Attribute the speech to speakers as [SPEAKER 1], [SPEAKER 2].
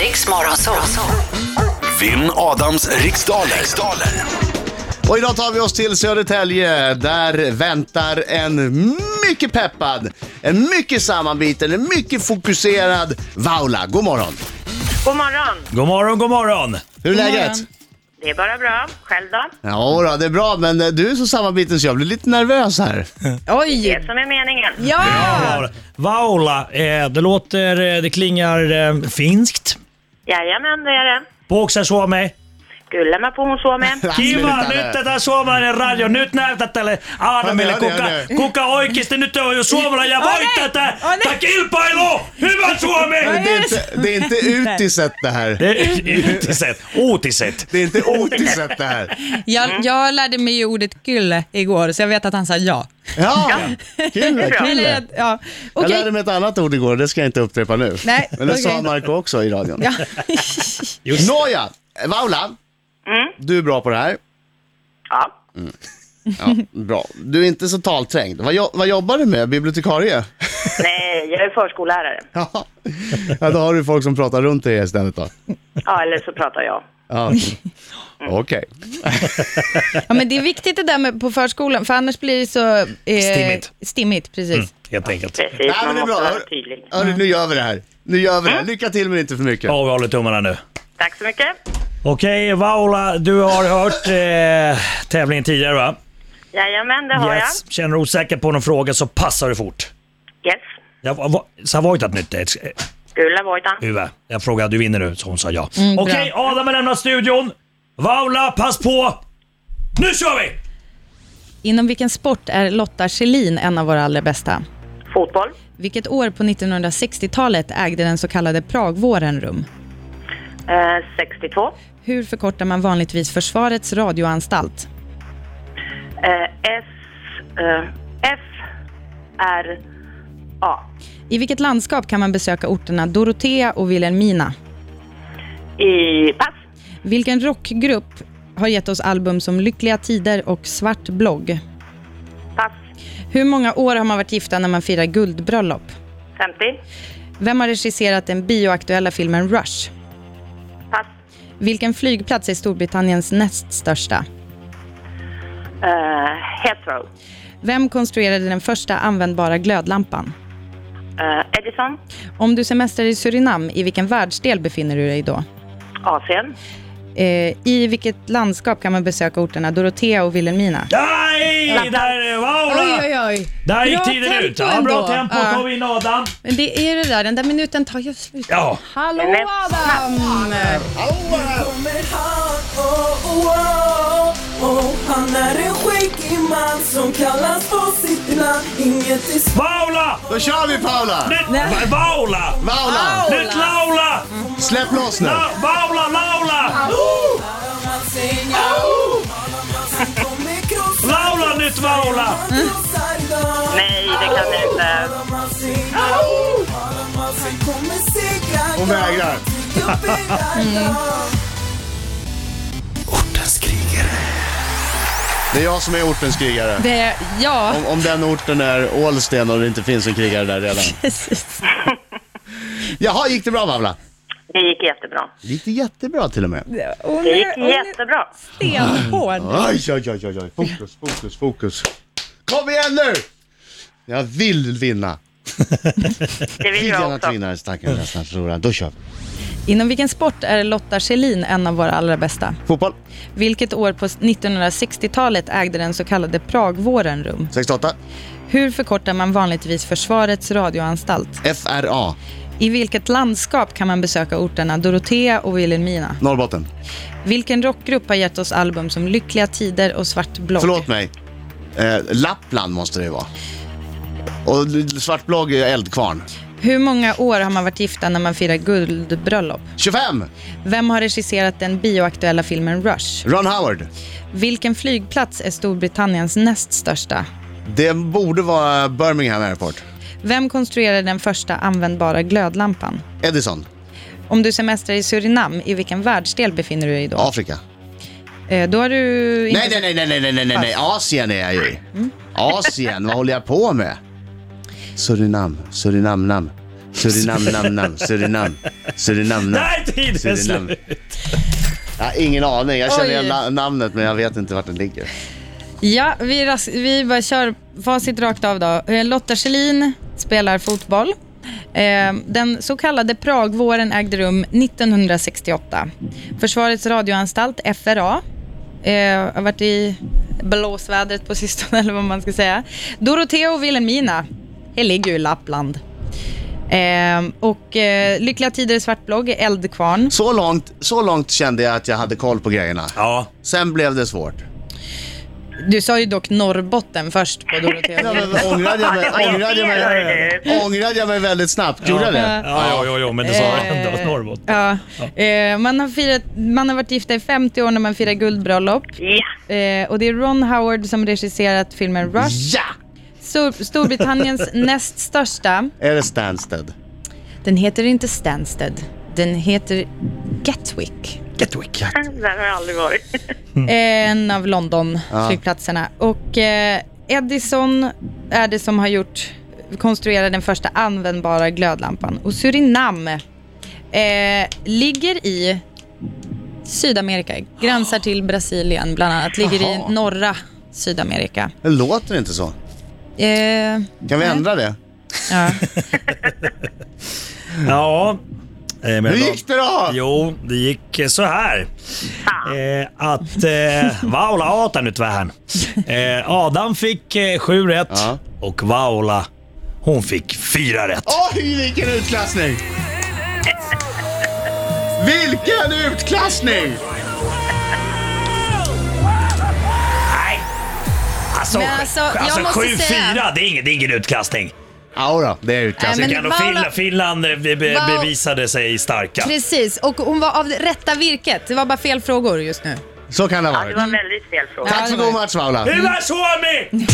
[SPEAKER 1] Riks Morgonzoo.
[SPEAKER 2] Vinn Adams riksdaler. riksdaler.
[SPEAKER 3] Och idag tar vi oss till Södertälje. Där väntar en mycket peppad, en mycket sammanbiten, en mycket fokuserad Vaula. God morgon!
[SPEAKER 4] God morgon!
[SPEAKER 5] God morgon, god morgon!
[SPEAKER 3] Hur är läget?
[SPEAKER 4] Det är bara bra. Själv då?
[SPEAKER 3] Ja, då, det är bra, men eh, du är så sammanbiten så jag blir lite nervös här.
[SPEAKER 4] Det
[SPEAKER 6] Oj!
[SPEAKER 4] som är meningen.
[SPEAKER 6] Ja!
[SPEAKER 5] Vaula, eh, det låter, eh, det klingar eh, finskt.
[SPEAKER 4] Jajamän, det är det.
[SPEAKER 5] Boxar suomi.
[SPEAKER 4] Kyllä mä puhun suomea.
[SPEAKER 5] Kiva,
[SPEAKER 3] Sluta
[SPEAKER 5] nyt
[SPEAKER 3] nu.
[SPEAKER 5] tätä suomalainen radio. Nyt näytät tälle Aadamille,
[SPEAKER 3] Mä näen,
[SPEAKER 5] kuka,
[SPEAKER 3] näen, näen.
[SPEAKER 5] kuka oikeasti nyt on jo suomalainen ja
[SPEAKER 6] Ole,
[SPEAKER 5] voittaa tää,
[SPEAKER 6] ole.
[SPEAKER 5] tää kilpailu! Hyvä Suomi!
[SPEAKER 3] Men det är inte, det är inte utiset det här.
[SPEAKER 5] Uutiset, uutiset.
[SPEAKER 3] Det är inte otiset det här.
[SPEAKER 6] Jag, jag lärde mig ju ordet kylle igår, så jag vet att han sa ja.
[SPEAKER 3] Ja, kul!
[SPEAKER 4] bra.
[SPEAKER 3] kul.
[SPEAKER 6] Eller, ja.
[SPEAKER 3] Jag
[SPEAKER 6] Okej.
[SPEAKER 3] lärde mig ett annat ord igår, det ska jag inte upprepa nu.
[SPEAKER 6] Nej,
[SPEAKER 3] Men det sa
[SPEAKER 6] okej.
[SPEAKER 3] Marco också i radion.
[SPEAKER 6] Ja.
[SPEAKER 3] Nåja, Vaula. Du är bra på det här.
[SPEAKER 4] Ja.
[SPEAKER 3] Ja, bra. Du är inte så talträngd. Vad, jo- vad jobbar du med? Bibliotekarie?
[SPEAKER 4] Nej, jag är förskollärare.
[SPEAKER 3] Ja. ja, då har du folk som pratar runt dig istället då.
[SPEAKER 4] Ja, eller så pratar jag.
[SPEAKER 3] Ja. Okej.
[SPEAKER 6] ja, men det är viktigt det där med på förskolan, för annars blir det så... Eh,
[SPEAKER 5] Stimmigt.
[SPEAKER 6] Stimmigt, precis.
[SPEAKER 5] Helt enkelt.
[SPEAKER 4] Precis,
[SPEAKER 3] Nej, men
[SPEAKER 4] man
[SPEAKER 3] det är bra.
[SPEAKER 4] måste vara tydlig.
[SPEAKER 3] Hörru, nu gör vi det här. Nu gör vi det här. Lycka till men inte för mycket.
[SPEAKER 5] Ja, vi håller tummarna nu.
[SPEAKER 4] Tack så mycket.
[SPEAKER 5] Okej, Vaula, du har hört eh, tävlingen tidigare va?
[SPEAKER 4] Jajamän, det har
[SPEAKER 5] Yes. Känner du osäker på någon fråga så passar du fort.
[SPEAKER 4] jag. Yes.
[SPEAKER 5] Jag va- va- så har varit att nytt eh,
[SPEAKER 4] Kyllä voita.
[SPEAKER 5] huvud. Jag frågade du vinner nu, så hon sa ja.
[SPEAKER 6] Mm, bra.
[SPEAKER 5] Okej, Adam har lämnat studion. Vaula, pass på! Nu kör vi!
[SPEAKER 6] Inom vilken sport är Lotta Schelin en av våra allra bästa?
[SPEAKER 4] Fotboll.
[SPEAKER 6] Vilket år på 1960-talet ägde den så kallade Pragvåren rum?
[SPEAKER 4] Eh, 62.
[SPEAKER 6] Hur förkortar man vanligtvis Försvarets radioanstalt?
[SPEAKER 4] Eh, S... Eh, F... R... A.
[SPEAKER 6] I vilket landskap kan man besöka orterna Dorotea och Vilhelmina?
[SPEAKER 4] I... Pass.
[SPEAKER 6] Vilken rockgrupp har gett oss album som Lyckliga Tider och Svart blogg?
[SPEAKER 4] Pass.
[SPEAKER 6] Hur många år har man varit gifta när man firar guldbröllop?
[SPEAKER 4] 50.
[SPEAKER 6] Vem har regisserat den bioaktuella filmen Rush?
[SPEAKER 4] Pass.
[SPEAKER 6] Vilken flygplats är Storbritanniens näst största?
[SPEAKER 4] Eh, Heathrow.
[SPEAKER 6] Vem konstruerade den första användbara glödlampan?
[SPEAKER 4] Eh, Edison.
[SPEAKER 6] Om du semestrar i Suriname, i vilken världsdel befinner du dig då?
[SPEAKER 4] Asien.
[SPEAKER 6] Eh, I vilket landskap kan man besöka orterna Dorotea och Vilhelmina?
[SPEAKER 5] Nej! Där, Vaula!
[SPEAKER 6] oj.
[SPEAKER 5] Där gick
[SPEAKER 6] Bra
[SPEAKER 5] tiden
[SPEAKER 6] tempo
[SPEAKER 5] ut. Ja, bra
[SPEAKER 6] ändå.
[SPEAKER 5] tempo.
[SPEAKER 6] Ja.
[SPEAKER 5] Tar vi in Adam.
[SPEAKER 6] Men det är ju det där, den där minuten tar ju slut.
[SPEAKER 5] Ja.
[SPEAKER 6] Hallå
[SPEAKER 4] Men-
[SPEAKER 6] Adam!
[SPEAKER 7] kommer han, oh, oh, oh, oh. Han är en skäggig man som kallas på sitt namn Inget är svårt
[SPEAKER 5] Vaula!
[SPEAKER 3] Då kör vi Paula!
[SPEAKER 5] Nytt- Vaula!
[SPEAKER 3] Paula!
[SPEAKER 5] Nytt Laula!
[SPEAKER 6] Mm.
[SPEAKER 3] Släpp loss nu!
[SPEAKER 5] La- Vaula, Laula!
[SPEAKER 7] att sänga Honom jag ser kommer krossa
[SPEAKER 5] Laula, nytt Vaula!
[SPEAKER 7] Han krossar dem
[SPEAKER 4] Nej, det kan jag inte.
[SPEAKER 7] Honom man sänga Honom man ser kommer segra
[SPEAKER 3] Hon vägrar.
[SPEAKER 7] Mm.
[SPEAKER 2] Ortens krigare.
[SPEAKER 3] Det är jag som är ortens krigare.
[SPEAKER 6] Det, ja,
[SPEAKER 4] Mm.
[SPEAKER 3] Om, om den orten är Ålsten och det inte finns en krigare där redan.
[SPEAKER 6] precis.
[SPEAKER 3] Jaha, gick det bra Paula?
[SPEAKER 4] Det gick jättebra.
[SPEAKER 3] Det gick jättebra till och med.
[SPEAKER 6] Hon
[SPEAKER 4] Det gick
[SPEAKER 6] är, hon är
[SPEAKER 4] jättebra.
[SPEAKER 6] stenhård.
[SPEAKER 3] Oj, oj, oj, oj, oj. Fokus, fokus, fokus. Kom igen nu! Jag vill vinna.
[SPEAKER 4] Det vill
[SPEAKER 3] Vill
[SPEAKER 4] jag
[SPEAKER 3] gärna
[SPEAKER 4] också.
[SPEAKER 3] vinna, stackaren nästan förloraren. Då kör vi.
[SPEAKER 6] Inom vilken sport är Lotta Schelin en av våra allra bästa?
[SPEAKER 3] Fotboll,
[SPEAKER 6] Vilket år på 1960-talet ägde den så kallade Pragvåren rum?
[SPEAKER 3] 68.
[SPEAKER 6] Hur förkortar man vanligtvis Försvarets radioanstalt?
[SPEAKER 3] FRA,
[SPEAKER 6] I vilket landskap kan man besöka orterna Dorotea och Vilhelmina?
[SPEAKER 3] Norrbotten.
[SPEAKER 6] Vilken rockgrupp har gett oss album som Lyckliga Tider och Svart blogg?
[SPEAKER 3] Förlåt mig. Eh, Lappland måste det ju vara. Och l- svart blogg är Eldkvarn.
[SPEAKER 6] Hur många år har man varit gifta när man firar guldbröllop?
[SPEAKER 3] 25!
[SPEAKER 6] Vem har regisserat den bioaktuella filmen Rush?
[SPEAKER 3] Ron Howard.
[SPEAKER 6] Vilken flygplats är Storbritanniens näst största?
[SPEAKER 3] Det borde vara Birmingham Airport.
[SPEAKER 6] Vem konstruerade den första användbara glödlampan?
[SPEAKER 3] Edison,
[SPEAKER 6] Om du semestrar i Surinam, i vilken världsdel befinner du dig då?
[SPEAKER 3] Afrika.
[SPEAKER 6] Eh, Då har du... inte-
[SPEAKER 3] Nej, nej, nej, nej, nej, nej, nej, nej, nej, Asien är jag ju
[SPEAKER 5] Mm.
[SPEAKER 3] i. Asien, vad håller jag på med? Surinam, Surinamnam. Surinam, nam, nam, Surinam, Surinam, nam.
[SPEAKER 5] Nej, tiden är
[SPEAKER 3] Surinam.
[SPEAKER 5] slut!
[SPEAKER 3] Jag har ingen aning. Jag känner
[SPEAKER 6] Oj.
[SPEAKER 3] igen na- namnet men jag vet inte vart den ligger.
[SPEAKER 6] Ja, vi, ras- vi bara kör facit rakt av då. Eh, Lotta Schelin spelar fotboll. Eh, Den så kallade Pragvåren ägde rum 1968. Försvarets radioanstalt, FRA, eh, har varit i blåsvädret på sistone, eller vad man ska säga. Dorotea och Vilhelmina, det ligger ju i Lappland. Eh, och eh, Lyckliga Tider i Svartblogg, Eldkvarn.
[SPEAKER 3] Så långt, så långt kände jag att jag hade koll på grejerna.
[SPEAKER 5] Ja,
[SPEAKER 3] Sen blev det svårt.
[SPEAKER 6] Du sa ju dock Norrbotten först på Dorotea.
[SPEAKER 3] Ja, men, ångrade, jag mig, ångrade, jag mig, ångrade jag mig väldigt snabbt? Gjorde jag det?
[SPEAKER 5] ja, ja, ja, ja men det sa jag ändå. Norrbotten.
[SPEAKER 6] Ja. Eh, man, har firat, man har varit gifta i 50 år när man firar guldbröllop.
[SPEAKER 4] Ja,
[SPEAKER 6] Eh, och det är Ron Howard som regisserat filmen Rush.
[SPEAKER 3] Ja!
[SPEAKER 6] Stor, Storbritanniens näst största.
[SPEAKER 3] Är det Stansted?
[SPEAKER 6] Den heter inte Stansted. Den heter Gatwick.
[SPEAKER 3] Gatwick.
[SPEAKER 4] där har jag aldrig varit.
[SPEAKER 6] En av London-flygplatserna. Och eh, Edison är det som har gjort konstruera den första användbara glödlampan. Och Suriname eh, ligger i Sydamerika, gränsar till Brasilien bland annat, ligger
[SPEAKER 3] Jaha.
[SPEAKER 6] i norra Sydamerika.
[SPEAKER 3] Det låter inte så.
[SPEAKER 6] Eh,
[SPEAKER 3] Kan vi ändra det?
[SPEAKER 6] ja.
[SPEAKER 5] Ja. eh, men
[SPEAKER 3] Hur
[SPEAKER 5] jag-
[SPEAKER 3] gick det då?
[SPEAKER 5] Jo, det gick eh, så här.
[SPEAKER 6] Ah.
[SPEAKER 5] Eh, att eh, Vaula åt han utvären. Eh, Adam fick eh, sju rätt
[SPEAKER 3] Ja.
[SPEAKER 5] och Vaula hon fick fyra rätt.
[SPEAKER 6] Oh!
[SPEAKER 3] Oj, vilken utklassning! Vilken utklassning!
[SPEAKER 5] Nej! Alltså,
[SPEAKER 6] Men alltså, jag
[SPEAKER 5] alltså
[SPEAKER 6] måste
[SPEAKER 5] sju,
[SPEAKER 6] säga-
[SPEAKER 5] fyra, det är ingen, det är ingen utkastning.
[SPEAKER 3] Jodå, det är
[SPEAKER 6] Nej,
[SPEAKER 3] utklassning.
[SPEAKER 6] men
[SPEAKER 5] Kan och
[SPEAKER 6] Vaula-
[SPEAKER 5] Finland, Finland eh, be, be,
[SPEAKER 6] Vaula-
[SPEAKER 5] bevisade sig starka.
[SPEAKER 6] Precis, och hon var av det rätta virket. Det var bara fel frågor just nu.
[SPEAKER 3] Så kan det ha
[SPEAKER 4] Det
[SPEAKER 3] varit.
[SPEAKER 4] var väldigt fel fråga.
[SPEAKER 3] Tack för god match, Paula.
[SPEAKER 5] Hyvä Suomi!